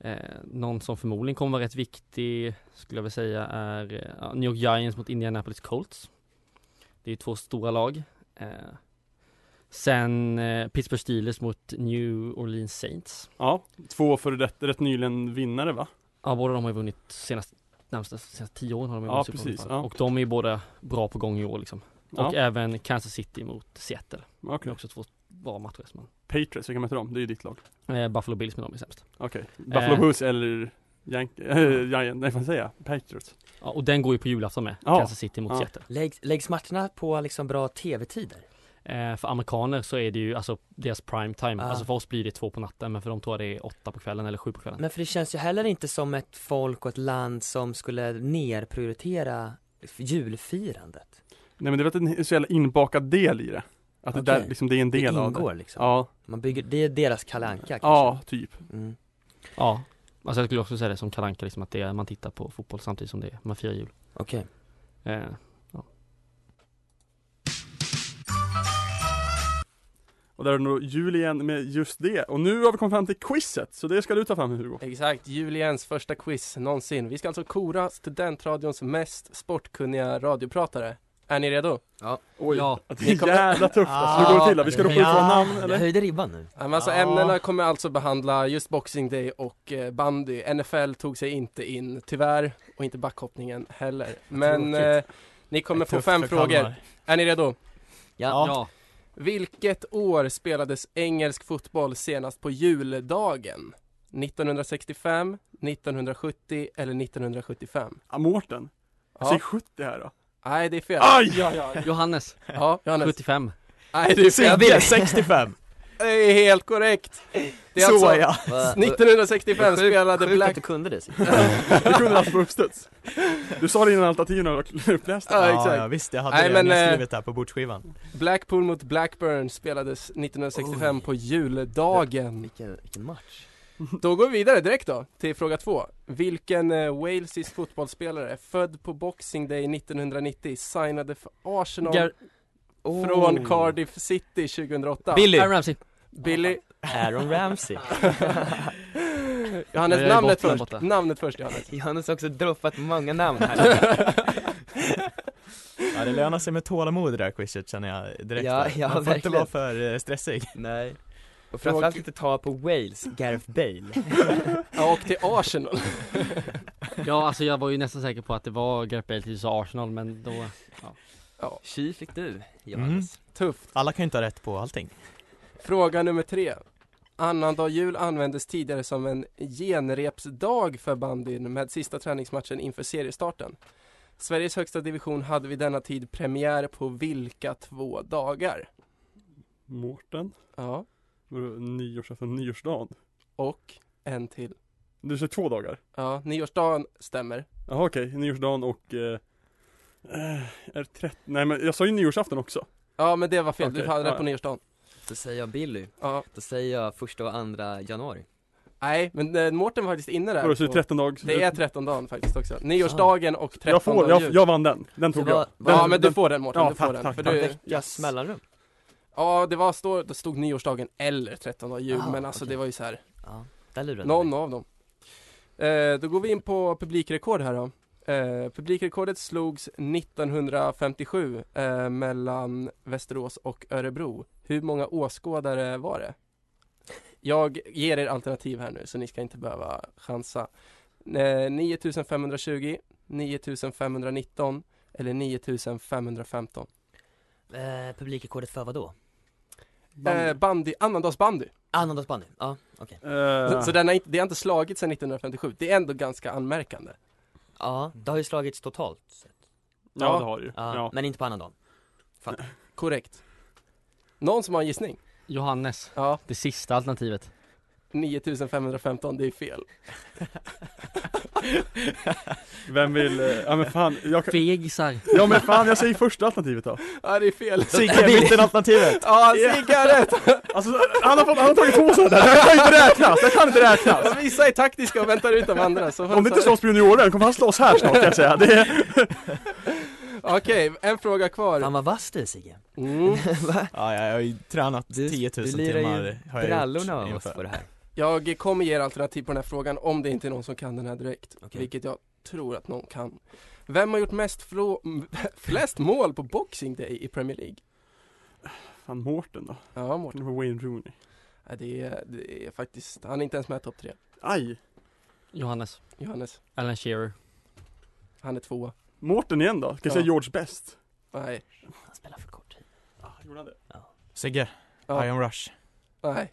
Speaker 5: eh, någon som förmodligen kommer vara rätt viktig skulle jag vilja säga är eh, ja, New York Giants mot Indianapolis Colts. Det är två stora lag. Eh, sen eh, Pittsburgh Steelers mot New Orleans Saints.
Speaker 3: Ja, två före rätt, rätt nyligen vinnare va?
Speaker 5: Ja, båda de har ju vunnit senaste, närmsta, senaste tio åren har de ju
Speaker 3: Ja,
Speaker 5: vunnit Super Bowl i
Speaker 3: precis,
Speaker 5: alla fall.
Speaker 3: ja.
Speaker 5: Och de är ju båda bra på gång i år liksom.
Speaker 3: Ja,
Speaker 5: Och även Kansas City mot Seattle. Det är
Speaker 3: okej.
Speaker 5: också två bra matcher som man
Speaker 3: Patriots, vilka möter de? Det är ju ditt lag.
Speaker 5: Eh, Buffalo Bills men de är sämst.
Speaker 3: Okej. Buffalo
Speaker 5: Eh.
Speaker 3: Bulls eller Yank- äh, Giant, nej vad säger jag? Patriots.
Speaker 5: Ja, och den går ju på julafton med,
Speaker 3: Ja.
Speaker 5: Kansas City mot
Speaker 3: Ja.
Speaker 5: Seattle.
Speaker 7: Läggs, läggs matcherna på liksom bra tv-tider?
Speaker 5: Eh, för amerikaner så är det ju alltså deras prime time.
Speaker 7: Ah.
Speaker 5: Alltså för oss blir det två på natten men för de tror jag det är åtta på kvällen eller sju på kvällen.
Speaker 7: Men för det känns ju heller inte som ett folk och ett land som skulle nerprioritera f- julfirandet.
Speaker 3: Nej men det är väl en så jävla inbakad del i det. Att det
Speaker 7: Okej.
Speaker 3: där liksom, det är en
Speaker 7: Det
Speaker 3: del av det.
Speaker 7: ingår liksom.
Speaker 3: Ja,
Speaker 7: Man bygger, det är deras kalanka kanske.
Speaker 3: ja, typ.
Speaker 7: Mm.
Speaker 5: Ja. Alltså jag skulle också säga det som Kalle Anka, liksom att det är, man tittar på fotboll samtidigt som det är, man firar jul.
Speaker 7: Okej.
Speaker 5: Eh,
Speaker 3: Och där är det nog jul igen med just det. Och nu har vi kommit fram till quizet, så det ska du ta fram Hugo.
Speaker 4: Exakt, Juliens första quiz någonsin. Vi ska alltså kora studentradions mest sportkunniga radiopratare. Är ni redo?
Speaker 3: Oj,
Speaker 5: Ja.
Speaker 3: det
Speaker 4: Ni
Speaker 3: är
Speaker 4: kommer- Ah.
Speaker 3: jävla tufft alltså. Hur går det till då? Vi ska
Speaker 7: Ja,
Speaker 3: ropa ut våra namn
Speaker 7: Jag
Speaker 3: eller?
Speaker 7: höjde ribban nu.
Speaker 4: Ja, men Alltså
Speaker 7: Ja.
Speaker 4: ämnena kommer alltså behandla just Boxing Day och eh, bandy. NFL tog sig inte in, tyvärr, och inte backhoppningen heller. Men eh,
Speaker 6: Tråkigt.
Speaker 4: ni kommer
Speaker 6: Det är
Speaker 4: få
Speaker 6: tufft
Speaker 4: fem
Speaker 6: för
Speaker 4: frågor.
Speaker 6: Kalmar.
Speaker 4: Är ni redo?
Speaker 7: Ja.
Speaker 4: Vilket år spelades engelsk fotboll senast på juldagen? 1965, 1970 eller 1975?
Speaker 3: Ah, Mårten. Jag
Speaker 4: Ja.
Speaker 3: säger 70 här då.
Speaker 4: Nej, det är fel.
Speaker 3: Aj, aj, aj.
Speaker 5: Johannes,
Speaker 4: Ja, Johannes.
Speaker 5: 75.
Speaker 4: Nej, det är fel.
Speaker 6: Sigge, 65!
Speaker 4: Det är helt korrekt. Det är
Speaker 6: Så
Speaker 4: alltså
Speaker 6: ja!
Speaker 7: Va-
Speaker 4: 1965
Speaker 7: Sjukt-
Speaker 4: spelade
Speaker 7: Sjukt att
Speaker 4: Black...
Speaker 7: du kunde det. Sigge.
Speaker 3: Du kunde alltså på uppstuds. Du sa det innan alternativen var upplästa.
Speaker 6: Ja,
Speaker 4: Ja, exakt.
Speaker 6: ja visst, jag hade
Speaker 4: Nej,
Speaker 6: det
Speaker 4: men, eh,
Speaker 6: men, skrivit där på bordsskivan
Speaker 4: Blackpool mot Blackburn spelades 1965 på juldagen.
Speaker 7: Vilken, vilken match.
Speaker 4: Då går vi vidare direkt då, till fråga två. Vilken eh, walesisk fotbollsspelare, född på Boxing Day 1990, signade för Arsenal
Speaker 5: Gar-
Speaker 4: från Cardiff City 2008?
Speaker 6: Billy!
Speaker 5: Aaron Ramsey.
Speaker 4: Billy.
Speaker 7: Aaron Ramsey.
Speaker 4: Johannes,
Speaker 5: Jag är
Speaker 4: namnet
Speaker 5: borta,
Speaker 4: först.
Speaker 5: borta.
Speaker 4: Namnet först Johannes.
Speaker 7: Johannes har också droppat många namn här.
Speaker 6: Ja det lönar sig med tålamod i det här quizet känner jag direkt
Speaker 7: Ja,
Speaker 6: där.
Speaker 7: ja,
Speaker 6: Man får inte
Speaker 7: verkligen.
Speaker 6: vara för eh, stressig
Speaker 7: Nej. Och framförallt inte ta på Wales, Gareth Bale.
Speaker 4: Ja, och till Arsenal.
Speaker 5: Ja alltså jag var ju nästan säker på att det var Gareth Bale till USA Arsenal men då
Speaker 7: Tji fick du,
Speaker 6: Johannes.
Speaker 4: Tufft.
Speaker 6: Mm. Alla kan ju inte ha rätt på allting
Speaker 4: Fråga nummer tre. Annandag jul användes tidigare som en genrepsdag för bandyn med sista träningsmatchen inför seriestarten. Sveriges högsta division hade vid denna tid premiär på vilka två dagar?
Speaker 3: Mårten.
Speaker 4: Ja,
Speaker 3: Vadå, Nyårsafton, nyårsdagen.
Speaker 4: och en till.
Speaker 3: Du säger två dagar?
Speaker 4: Ja, nyårsdagen stämmer.
Speaker 3: Jaha okej, nyårsdagen och eh, eh, är det 30? Nej men jag sa ju nyårsafton också.
Speaker 4: Ja, men det var fel. Du
Speaker 3: Okej,
Speaker 4: hade
Speaker 3: ja,
Speaker 4: rätt på
Speaker 3: ja.
Speaker 4: nyårsdagen.
Speaker 7: Då säger jag Billy.
Speaker 4: Ja.
Speaker 7: Då säger jag första och andra januari.
Speaker 4: Nej, men eh, Mårten var faktiskt inne där.
Speaker 3: Vadå, så det är
Speaker 4: på-
Speaker 3: 13 dagar?
Speaker 4: det är 13 dagen faktiskt också. Nyårsdagen och 13
Speaker 3: jag får,
Speaker 4: dagen
Speaker 3: jag,
Speaker 4: jul.
Speaker 3: jag vann den. Den tog
Speaker 7: Det var-
Speaker 3: jag.
Speaker 7: var-
Speaker 4: Ja,
Speaker 3: Den-
Speaker 4: men du
Speaker 3: den-
Speaker 4: får den Mårten.
Speaker 3: Ja,
Speaker 4: du får
Speaker 3: tack,
Speaker 4: den.
Speaker 3: tack,
Speaker 4: för
Speaker 3: tack.
Speaker 4: du,
Speaker 7: Veckas mellanrum.
Speaker 4: Ja, det var, stå, det stod nyårsdagen eller 13 jul,
Speaker 7: Ah,
Speaker 4: men alltså
Speaker 7: okej.
Speaker 4: det var ju så här
Speaker 7: Ja, där lurade du
Speaker 4: Någon
Speaker 7: mig.
Speaker 4: av dem. Eh, då går vi in på publikrekord här då. Eh, publikrekordet slogs 1957 eh, mellan Västerås och Örebro. Hur många åskådare var det? Jag ger er alternativ här nu så ni ska inte behöva chansa. Eh, 9520, 9519 eller 9515.
Speaker 7: Eh, publikrekordet för vad då?
Speaker 4: Eh, bandy, annandagsbandy.
Speaker 7: Annandagsbandy, ja okej
Speaker 3: Eh,
Speaker 4: Så den har inte, det har inte slagit sedan 1957. Det är ändå ganska anmärkande.
Speaker 7: Ja, det har ju slagits totalt sett
Speaker 3: ja det har du ju.
Speaker 7: ja,
Speaker 3: Ja.
Speaker 7: Men inte på annandagen
Speaker 4: Korrekt. Någon som har en gissning?
Speaker 5: Johannes,
Speaker 4: Ja,
Speaker 5: det sista alternativet.
Speaker 4: 9515, det är fel.
Speaker 3: Vem vill, eh, ja men fan, jag kan,
Speaker 5: Fegisar.
Speaker 3: ja men fan jag säger första alternativet då.
Speaker 4: Ja, det är fel.
Speaker 3: Sigge, mittenalternativet!
Speaker 4: Ja, Sigge har rätt!
Speaker 3: Alltså han har, fått, han har tagit två sådana, det här kan inte räknas, det här kan inte räknas!
Speaker 4: Vissa är taktiska och väntar ut de andra. Så
Speaker 3: Om det inte slåss på junioren kommer han slåss här snart kan jag säga. Det är...
Speaker 4: Okej, en fråga kvar.
Speaker 7: Fan vad vass du är Sigge
Speaker 4: Mm.
Speaker 6: Ja, jag har ju tränat
Speaker 7: Du-
Speaker 6: 10 000
Speaker 7: du lirar ju
Speaker 6: timmar har jag
Speaker 7: Brallorna
Speaker 6: gjort
Speaker 7: av oss
Speaker 6: inför.
Speaker 7: på det här
Speaker 4: Jag kommer ge er alternativ på den här frågan om det inte är någon som kan den här direkt.
Speaker 7: Okej.
Speaker 4: Vilket jag tror att någon kan. Vem har gjort mest frå- flest mål på Boxing Day i Premier League?
Speaker 3: Fan Mårten då,
Speaker 4: Ja, Mårten.
Speaker 3: Mårten var Wayne Rooney.
Speaker 4: Ja, det, är, det är faktiskt, han är inte ens med i topp tre.
Speaker 3: Aj!
Speaker 5: Johannes.
Speaker 4: Johannes,
Speaker 5: Alan Shearer.
Speaker 4: han är tvåa.
Speaker 3: Mårten igen då, kan jag säga
Speaker 4: Ja.
Speaker 3: George Best?
Speaker 4: Nej,
Speaker 7: Han spelar för kort tid
Speaker 3: Ah, gjorde han det?
Speaker 6: Sigge,
Speaker 4: Ja.
Speaker 6: I am Rush.
Speaker 4: nej.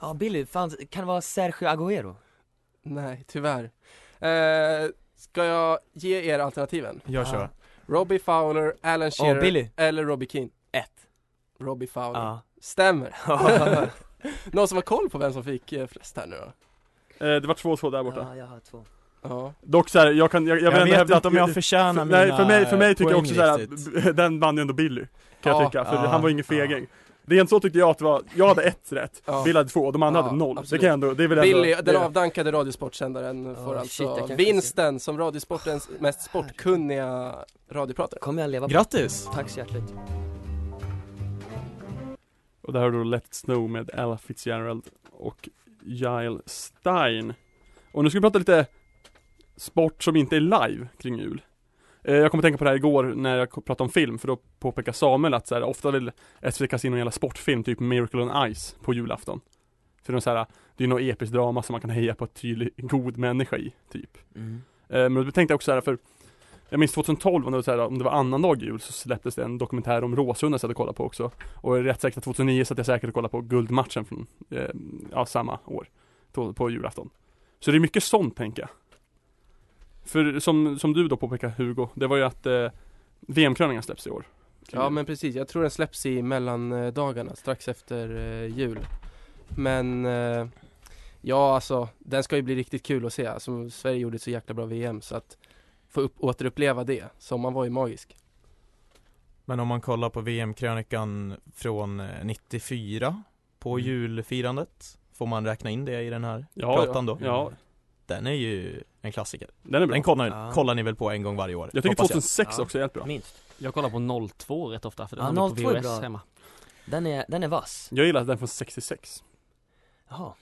Speaker 7: Ja Billy, fan kan det vara Sergio Agüero?
Speaker 4: Nej, tyvärr. Eh, ska jag ge er alternativen?
Speaker 6: Gör så.
Speaker 7: Ja.
Speaker 4: Robbie Fowler, Alan
Speaker 6: Åh,
Speaker 4: Shearer
Speaker 6: Billy.
Speaker 4: eller Robbie Keane?
Speaker 7: Ett.
Speaker 4: Robbie Fowler.
Speaker 6: Ja.
Speaker 4: Stämmer. Någon som har koll på vem som fick eh, flest här nu då?
Speaker 3: Eh, det var 2-2 där borta.
Speaker 7: Ja, jag har två
Speaker 4: Ja.
Speaker 3: Dock såhär, jag kan, jag, jag,
Speaker 6: Jag,
Speaker 3: vill ändå
Speaker 6: vet
Speaker 3: hävda-
Speaker 6: inte om jag förtjänar mina
Speaker 3: Nej för mig, för mig tycker jag
Speaker 6: poäng
Speaker 3: också såhär
Speaker 6: riktigt.
Speaker 3: att b- den vann ju ändå Billy Kan
Speaker 4: Ja,
Speaker 3: jag tycka, för
Speaker 6: ja,
Speaker 3: han var ju ingen feging Rent så tyckte jag att det var, jag hade ett rätt,
Speaker 4: Ja.
Speaker 3: Bill hade två, de andra
Speaker 4: Ja,
Speaker 3: hade noll
Speaker 4: absolut.
Speaker 3: Det kan jag ändå, det är väl ändå
Speaker 4: Billy, den
Speaker 3: det,
Speaker 4: avdankade radiosportsändaren får
Speaker 7: shit, jag
Speaker 4: alltså
Speaker 7: kanske
Speaker 4: vinsten som radiosportens mest sportkunniga radiopratare.
Speaker 7: Kommer jag leva på?
Speaker 6: Grattis!
Speaker 7: Tack så hjärtligt
Speaker 3: Och där har du Let Snow med Ella Fitzgerald och Gile Stein Och nu ska vi prata lite sport som inte är live kring jul Eh, jag kommer tänka på det här igår när jag ko- pratade om film, för då påpekar Samuel att så här, ofta vill SVT kasta in någon jävla sportfilm, typ Miracle on Ice, på julafton. För det är, så här, det är något episkt drama som man kan heja på en tydlig, god människa i, typ.
Speaker 7: mm.
Speaker 3: Eh, men då tänkte jag också så här, för jag minns 2012 om det var, så här, om det var annandag jul så släpptes det en dokumentär om Råsunda jag satt och kollade på också. Och jag är rätt säkert att 2009 satt jag säkert och kollade på guldmatchen från, eh, ja, samma år. På, på julafton. Så det är mycket sånt tänker jag. För som, som du då påpekar Hugo, det var ju att eh, VM-kröningen släpps i år.
Speaker 4: Ja men precis, jag tror den släpps i mellandagarna strax efter eh, jul. Men eh, ja alltså, den ska ju bli riktigt kul att se. Alltså, Sverige gjorde ett så jäkla bra VM så att få upp, återuppleva det. Sommaren var ju magisk.
Speaker 6: Men om man kollar på VM-krönikan från eh, 94 på
Speaker 3: Mm.
Speaker 6: julfirandet Får man räkna in det i den här
Speaker 3: Ja,
Speaker 6: pratan
Speaker 3: ja,
Speaker 6: då?
Speaker 3: ja,
Speaker 6: Den är ju en klassiker
Speaker 3: den är bra.
Speaker 6: Den kollar,
Speaker 7: Ja.
Speaker 6: kollar ni väl på en gång varje år?
Speaker 3: jag tycker
Speaker 6: hoppas
Speaker 3: 2006
Speaker 7: Ja.
Speaker 3: också är helt bra.
Speaker 7: Minst
Speaker 5: Jag kollar på 02 rätt ofta för den
Speaker 7: Ja,
Speaker 5: har vi
Speaker 7: 02
Speaker 5: på
Speaker 7: är
Speaker 5: VHS
Speaker 7: bra.
Speaker 5: hemma.
Speaker 7: Den är, den är vass
Speaker 3: Jag gillar den från 66.
Speaker 7: Jaha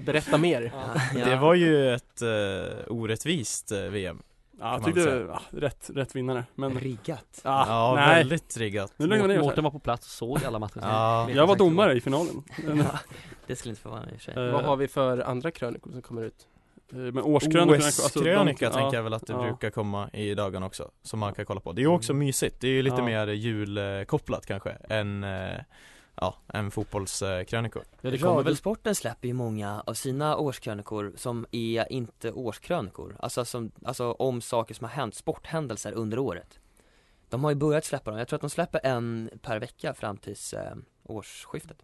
Speaker 4: Berätta mer.
Speaker 7: Ja.
Speaker 6: Det var ju ett eh, orättvist eh, VM
Speaker 3: Ja, jag
Speaker 6: man väl
Speaker 3: tyckte,
Speaker 6: säga.
Speaker 3: ah, rätt, rätt vinnare. Men,
Speaker 7: Riggat.
Speaker 3: ah,
Speaker 6: Ja,
Speaker 3: nej.
Speaker 6: väldigt riggat
Speaker 3: Nu lugnar vi ner oss
Speaker 5: Mårten
Speaker 3: här.
Speaker 5: var på plats och såg alla matcher.
Speaker 6: Ja.
Speaker 3: Jag var domare i finalen. Men,
Speaker 7: Ja, det skulle inte förvåna mig i och för sig.
Speaker 3: eh,
Speaker 4: Vad har vi för andra krönikor som kommer ut?
Speaker 3: Eh, Men årskrönika, alltså, de-
Speaker 6: OS-krönika tänker jag väl att det
Speaker 3: ja.
Speaker 6: brukar komma i dagarna också Som man kan kolla på, det är ju också
Speaker 3: Mm.
Speaker 6: mysigt Det är ju lite
Speaker 3: Ja.
Speaker 6: mer julkopplat kanske än eh, Ja, än fotbollskrönikor
Speaker 5: Ja, det kommer väl
Speaker 7: Radiosporten släpper ju många av sina årskrönikor som är inte årskrönikor, alltså, som, alltså om saker som har hänt, sporthändelser under året De har ju börjat släppa dem, jag tror att de släpper en per vecka fram tills eh, årsskiftet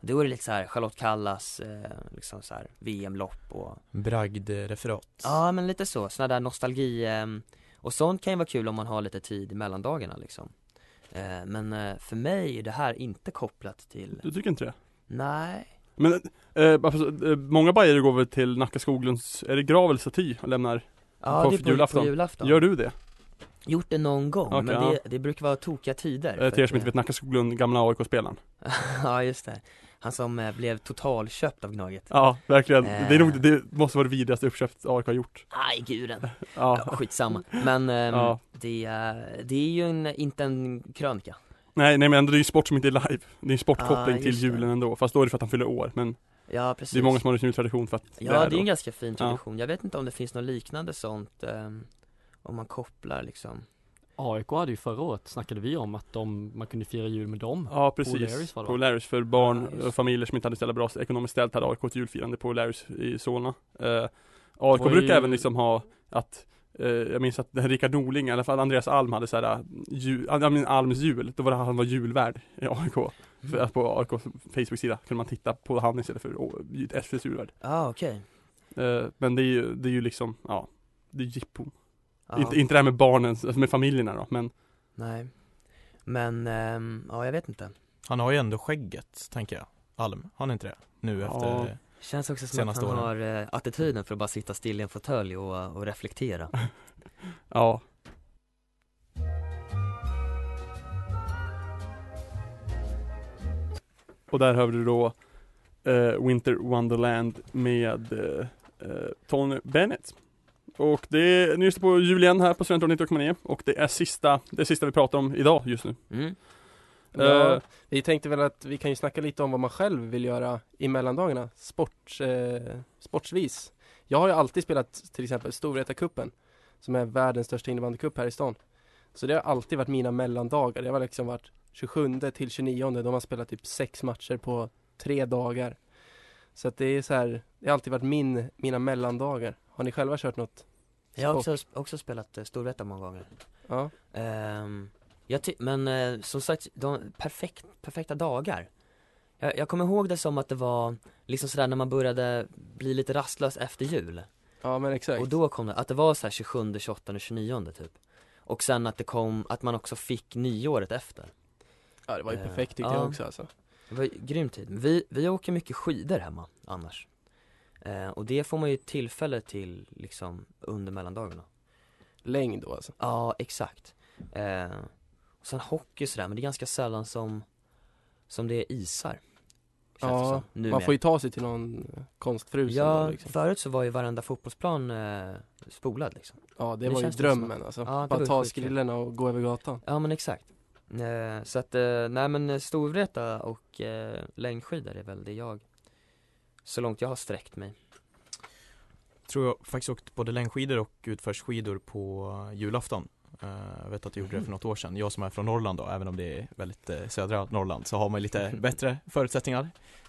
Speaker 7: Då är det lite så här Charlotte Kallas, eh, liksom så här VM-lopp och
Speaker 6: Bragdreferat
Speaker 7: Ja men lite så, sådana där nostalgi eh, och sånt kan ju vara kul om man har lite tid mellan dagarna liksom eh, Men eh, för mig är det här inte kopplat till,
Speaker 3: Du tycker inte det?
Speaker 7: nej
Speaker 3: Men eh, bara för- eh, många bajare går väl till Nacka Skoglunds, är det grav eller staty och lämnar?
Speaker 7: Ja
Speaker 3: På
Speaker 7: det är på,
Speaker 3: julafton.
Speaker 7: på julafton
Speaker 3: Gör du det?
Speaker 7: Gjort det någon gång,
Speaker 3: Okej,
Speaker 7: men
Speaker 3: ja.
Speaker 7: det, det brukar vara tokiga tider
Speaker 3: Eh,
Speaker 7: för
Speaker 3: Till er som
Speaker 7: att,
Speaker 3: inte
Speaker 7: eh,
Speaker 3: vet, Nacka Skoglund, gamla AIK-spelaren
Speaker 7: Ja just det, han som eh, blev totalköpt av Gnaget
Speaker 3: Ja, verkligen.
Speaker 7: Eh.
Speaker 3: Det, är nog, det måste vara det vidrigaste uppköpet AIK har gjort
Speaker 7: Aj guren,
Speaker 3: Ja,
Speaker 7: ja, skitsamma Men ehm,
Speaker 3: Ja.
Speaker 7: det, eh, det är ju en, inte en krönika
Speaker 3: nej, nej men ändå, det är ju sport som inte är live Det är en sportkoppling
Speaker 7: Ah,
Speaker 3: till
Speaker 7: just det.
Speaker 3: julen ändå, fast då är det för att han fyller år Men
Speaker 7: Ja precis
Speaker 3: det är många som har en jultradition för att
Speaker 7: Ja
Speaker 3: det
Speaker 7: det
Speaker 3: är
Speaker 7: är
Speaker 3: då.
Speaker 7: en ganska fin
Speaker 3: Ja.
Speaker 7: tradition, jag vet inte om det finns något liknande sånt ehm, Om man kopplar liksom
Speaker 5: AIK hade ju förra året, snackade vi om, att de, man kunde fira jul med dem
Speaker 3: Ja precis,
Speaker 5: O'Learys var det.
Speaker 3: Polaris för barn
Speaker 7: Ja, just
Speaker 3: och familjer som inte hade så jävla bra ekonomiskt ställt hade AIK ett julfirande på Polaris i Solna eh, AIK
Speaker 5: var
Speaker 3: brukar
Speaker 5: ju-
Speaker 3: även liksom ha att eh, jag minns att den här Rickard Norling, i alla fall Andreas Alm hade såhär jul, ja, men Alms jul, då var det han var julvärd i AIK För att på AIKs Facebook-sida kunde man titta på han istället för å- SVs julvärd
Speaker 7: Ja ah, okej
Speaker 3: eh, Men det är ju, det är ju liksom, ja Det är jippon
Speaker 7: Ja.
Speaker 3: inte, inte det här med barnen, med familjerna då, men
Speaker 7: Nej Men, ehm, ja jag vet inte
Speaker 6: Han har ju ändå skägget, tänker jag Alm, har han inte det? Nu
Speaker 3: Ja.
Speaker 6: efter
Speaker 7: Känns också som
Speaker 6: Senaste
Speaker 7: att han
Speaker 6: åren.
Speaker 7: har eh, attityden för att bara sitta still i en fåtölj och, och reflektera
Speaker 3: ja Och där hörde du då eh, Winter Wonderland med eh, eh, Tony Bennett Och det är, ni lyssnar på Julian här på Studentradion 90,9 och det är sista, det är sista vi pratar om idag just nu
Speaker 7: mm.
Speaker 4: Ja,
Speaker 3: Eh.
Speaker 4: vi tänkte väl att vi kan ju snacka lite om vad man själv vill göra i mellandagarna, sports, eh, sportsvis. Jag har ju alltid spelat till exempel Storvreta-cupen, som är världens största innebandycup här i stan. Så det har alltid varit mina mellandagar. Det har liksom varit 27 till 29, de har spelat typ sex matcher på tre dagar. Så att det är så här, det har alltid varit min, mina mellandagar. Har ni själva kört något?
Speaker 7: Jag har också, också spelat eh, Storvreta många gånger
Speaker 4: Ja,
Speaker 7: Ehm, jag ty- Men eh, som sagt, de perfekt, perfekta dagar jag, jag kommer ihåg det som att det var liksom sådär när man började bli lite rastlös efter jul
Speaker 4: ja men exakt.
Speaker 7: Och då kom det, att det var såhär 27, 28 och 29 typ Och sen att det kom, att man också fick nyåret efter
Speaker 4: ja, det var ju
Speaker 7: eh,
Speaker 4: perfekt tyckte
Speaker 7: ja.
Speaker 4: jag också alltså.
Speaker 7: Det var ju grym tid. Vi, vi åker mycket skidor hemma annars. Eh, och det får man ju tillfälle till liksom under mellandagarna.
Speaker 4: Längd då alltså.
Speaker 7: Ja, exakt. Eh, och sen hockey sådär, men det är ganska sällan som, som det är isar. Känns
Speaker 4: Ja,
Speaker 7: det som, numera.
Speaker 4: Man får ju ta sig till någon eh, konstfrusen
Speaker 7: Ja,
Speaker 4: då, liksom.
Speaker 7: förut så var ju varenda fotbollsplan eh, spolad liksom.
Speaker 4: Ja, det,
Speaker 7: Det
Speaker 4: var ju
Speaker 7: känns det som
Speaker 4: drömmen alltså.
Speaker 7: Ja, det var
Speaker 4: Bara
Speaker 7: ju
Speaker 4: ta
Speaker 7: skitkul.
Speaker 4: skrillorna och gå över gatan.
Speaker 7: Ja men exakt. Eh, så att, eh, nej men eh, Storvreta och eh, längdskidor är väl det jag, så långt jag har sträckt mig.
Speaker 6: Tror jag faktiskt åkt både längdskidor och utförsskidor på julafton Eh, Jag vet att jag
Speaker 7: Mm.
Speaker 6: gjorde det för något år sedan Jag som är från Norrland då, även om det är väldigt eh, södra Norrland Så har man ju lite bättre förutsättningar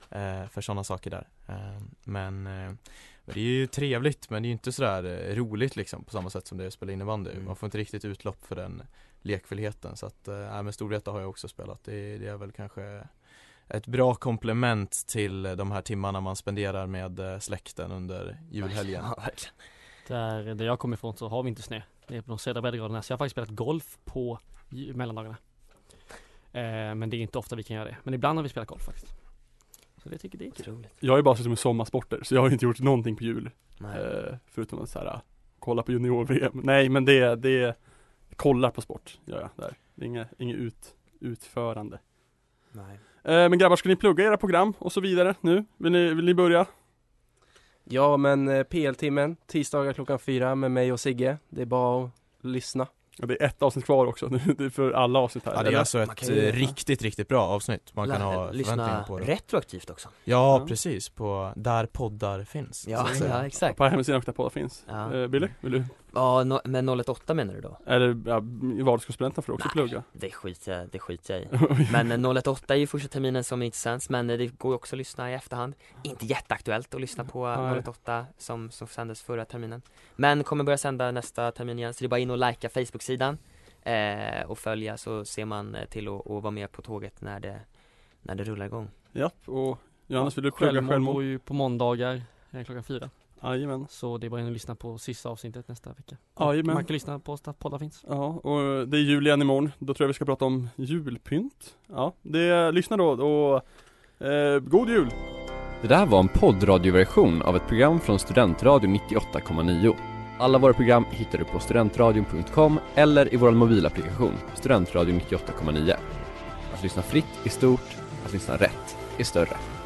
Speaker 6: eh, För sådana saker där Eh, Men eh, men det är ju trevligt men det är ju inte sådär eh, roligt liksom på samma sätt som det är att spela innebandy
Speaker 7: Mm.
Speaker 6: Man får inte riktigt utlopp för den lekfullheten så att, eh, nej men Storvreta har jag också spelat det, det är väl kanske ett bra komplement till de här timmarna man spenderar med eh, släkten under julhelgen
Speaker 7: Ja, verkligen.
Speaker 5: Där, där jag kommer ifrån så har vi inte snö. Det är på de södra breddgraderna. Så jag har faktiskt spelat golf på ju- mellandagarna. Eh, men det är inte ofta vi kan göra det. Men ibland har vi spelat golf faktiskt. Så det tycker jag det är kul.
Speaker 7: Otroligt.
Speaker 3: Jag har ju bara sett med sommarsporter så jag har ju inte gjort någonting på jul
Speaker 7: Nej.
Speaker 3: Eh, förutom att så här, kolla på junior-VM. Nej men det, det, kollar på sport gör jag där. Det är inget, inget ut, utförande.
Speaker 7: Nej.
Speaker 3: Eh, men grabbar, ska ni plugga era program och så vidare nu? Vill ni, vill ni börja?
Speaker 4: Ja, men eh, PL-timmen, tisdagar klockan fyra med mig och Sigge. Det är bara att lyssna.
Speaker 3: Ja, Det är ett avsnitt kvar också, nu, det är för alla avsnitt här.
Speaker 6: Ja, det är
Speaker 3: eller?
Speaker 6: alltså
Speaker 7: man
Speaker 6: ett
Speaker 7: kan ju-
Speaker 6: eh, riktigt, riktigt bra avsnitt Man kan
Speaker 7: Lä-
Speaker 6: ha förväntningar
Speaker 7: lyssna
Speaker 6: på det
Speaker 7: retroaktivt också.
Speaker 6: Ja,
Speaker 3: Ja.
Speaker 6: precis, på där poddar finns så
Speaker 7: Ja,
Speaker 6: att säga.
Speaker 7: ja exakt.
Speaker 3: På hemsidan och där poddar finns.
Speaker 7: Ja.
Speaker 3: Eh, Billy, vill du?
Speaker 7: Ja, no, men 018 menar du då?
Speaker 3: Eller ja, Vardagskuststudenten får du också
Speaker 7: Nej.
Speaker 3: plugga.
Speaker 7: Det skiter jag, det skiter jag i. Men eh, 018 är ju första terminen som inte sänds, men eh, det går ju också att lyssna i efterhand. Inte jätteaktuellt att lyssna på
Speaker 3: Nej.
Speaker 7: eh, 018 som, som sändes förra terminen. Men kommer börja sända nästa termin igen, så det är bara in och likea Facebook-sidan eh, och följa så ser man eh, till att att vara med på tåget när det, när det rullar igång.
Speaker 3: ja, och Johannes, vill du plugga
Speaker 5: Självmord går
Speaker 3: självmord?
Speaker 5: ju på måndagar eh, klockan fyra.
Speaker 3: Jajamän.
Speaker 5: Så det är bara in och lyssna på sista avsnittet nästa vecka.
Speaker 3: Jajamän.
Speaker 5: Man kan lyssna på oss där poddar finns.
Speaker 3: Ja, och det är jul igen imorgon. Då tror jag vi ska prata om julpynt. Ja, det, lyssna då och eh, god jul!
Speaker 1: Det där var en poddradioversion av ett program från Studentradion 98,9. Alla våra program hittar du på studentradion.com eller i vår mobilapplikation Studentradion 98,9. Att lyssna fritt är stort, att lyssna rätt är större.